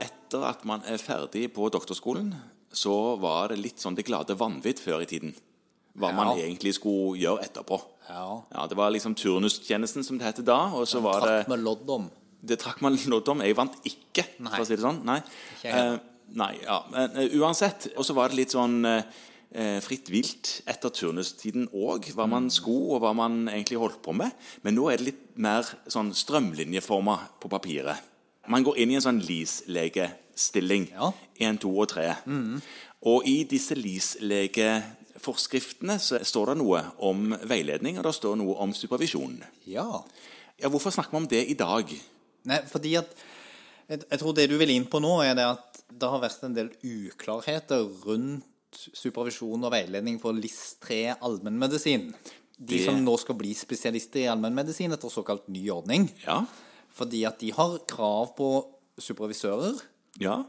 etter at man er ferdig på doktorskolen, så var det litt sånn det glade vanvidd før i tiden. Hva man Ja. egentlig skulle gjøre etterpå. Ja. Det var liksom turnustjenesten som det het da. Og så var det Trakk med lodd om. det trakk man lodd om. Jeg vant ikke, Nei. for å si det sånn. Nei. jeg heller. Eh, nei ja. Men, eh, uansett. Og så var det litt sånn eh, fritt vilt etter turnustiden òg. Hva man Mm. skulle, og hva man egentlig holdt på med. Men nå er det litt mer sånn strømlinjeforma på papiret. Man går inn i en sånn LIS-legestilling. Ja. Mm. Én, to og tre. Og i disse LIS-legeforskriftene så står det noe om veiledning, og det står noe om supervisjon. Ja. Ja, Hvorfor snakker vi om det i dag? Nei, fordi at jeg, jeg tror det du vil inn på nå, er det at det har vært en del uklarheter rundt supervisjon og veiledning for LIS3 allmennmedisin. De Det- som nå skal bli spesialister i allmennmedisin etter såkalt ny ordning. Ja. Fordi at de har krav på supervisører Ja, og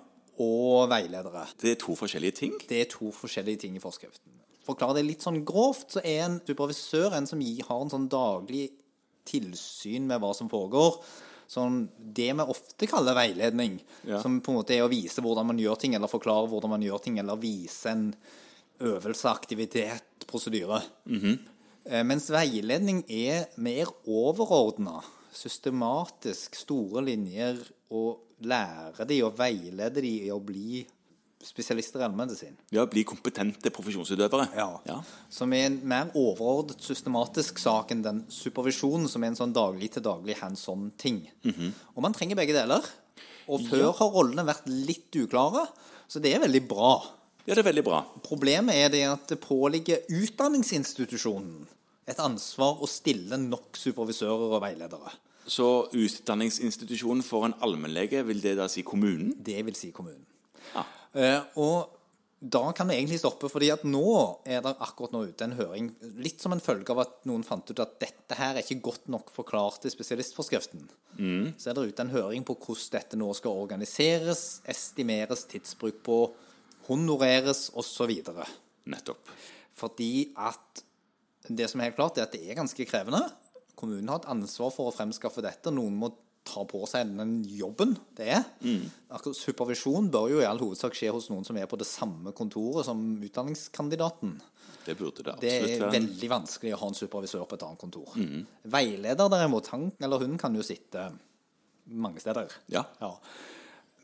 veiledere. det er to forskjellige ting. Det er to forskjellige ting i forskriften. Forklare det litt sånn grovt, så er en supervisør en som gir, har en sånn daglig tilsyn med hva som foregår. Sånn, det vi ofte kaller veiledning, Ja. som på en måte er å vise hvordan man gjør ting, eller forklare hvordan man gjør ting, eller vise en øvelse, aktivitet, prosedyre. Eh, Mens veiledning er mer overordna, systematisk, store linjer, og lære de og veilede de i å bli spesialister i allmennmedisin. Ja, Bli kompetente profesjonsutøvere. Som er en mer overordnet systematisk sak enn den supervisjonen, som er en sånn daglig til daglig hands on-ting. Og man trenger begge deler. Og før har rollene vært litt uklare, så det er veldig bra. Ja, det er veldig bra. Problemet er det at det påligger utdanningsinstitusjonen et ansvar å stille nok supervisører og veiledere. Så utdanningsinstitusjonen for en allmennlege, vil det da si kommunen? Det vil si kommunen. Ja. Eh, og da kan vi egentlig stoppe, fordi at nå er det akkurat nå ute en høring, litt som en følge av at noen fant ut at dette her er ikke godt nok forklart i spesialistforskriften. Mm. Så er det ute en høring på hvordan dette nå skal organiseres, estimeres tidsbruk på, honoreres osv. Nettopp. Fordi at det som er helt klart, er at det er ganske krevende. Kommunen har et ansvar for å fremskaffe dette. Noen må ta på seg den jobben det er. Akkurat Supervisjon bør jo i all hovedsak skje hos noen som er på det samme kontoret som utdanningskandidaten. Det burde det Det absolutt er være. veldig vanskelig å ha en supervisør på et annet kontor. Veileder derimot, han eller hun kan jo sitte mange steder. Ja. Ja.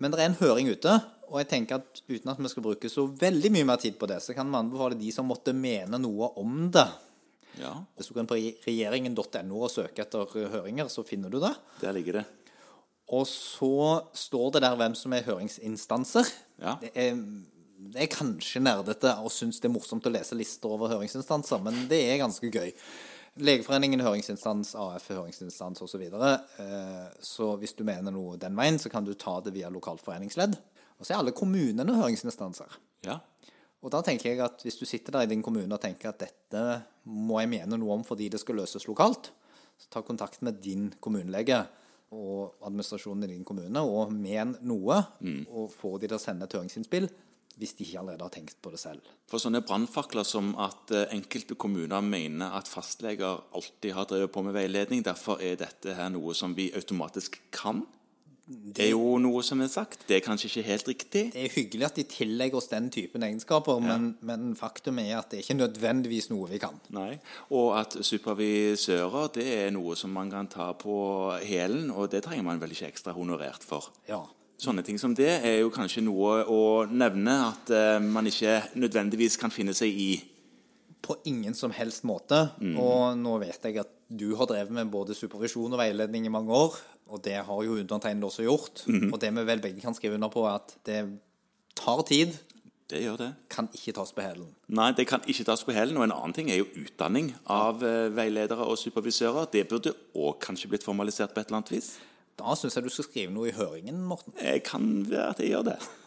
Men det er en høring ute, og jeg tenker at uten at vi skal bruke så veldig mye mer tid på det, så kan vi anbefale de som måtte mene noe om det. ja, Hvis du går inn på regjeringen.no og søker etter høringer, så finner du det. der ligger det. Og så står det der hvem som er høringsinstanser. Ja. Det, er, det er kanskje nerdete og syns det er morsomt å lese lister over høringsinstanser, men det er ganske gøy. Legeforeningen er høringsinstans, AF er høringsinstans osv. Så, videre. Eh, så hvis du mener noe den veien, så kan du ta det via lokalt foreningsledd. Og så er alle kommunene høringsinstanser. Ja. Og da tenker jeg at hvis du sitter der i din kommune og tenker at dette må jeg mene noe om fordi det skal løses lokalt, så ta kontakt med din kommunelege og administrasjonen i din kommune og men noe, og få de til å sende et høringsinnspill hvis de ikke allerede har tenkt på det selv. For sånne brannfakler som at eh, enkelte kommuner mener at fastleger alltid har drevet på med veiledning, derfor er dette her noe som vi automatisk kan. Det er jo noe som er sagt. Det er kanskje ikke helt riktig. Det er hyggelig at de tillegger oss den typen egenskaper, men, men faktum er at det er ikke nødvendigvis noe vi kan. Nei. Og at supervisører det er noe som man kan ta på hælen, og det trenger man vel ikke ekstra honorert for. Ja. Sånne ting som det er jo kanskje noe å nevne at eh, man ikke nødvendigvis kan finne seg i. På ingen som helst måte. Og nå vet jeg at du har drevet med både supervisjon og veiledning i mange år, og det har jo undertegnede også gjort. Og det vi vel begge kan skrive under på, er at det tar tid, Det gjør det. kan ikke tas på hælen. Nei, det kan ikke tas på hælen. Og en annen ting er jo utdanning av eh, veiledere og supervisører. Det burde òg kanskje blitt formalisert på et eller annet vis. Da syns jeg du skal skrive noe i høringen, Morten. Jeg kan være at jeg gjør det.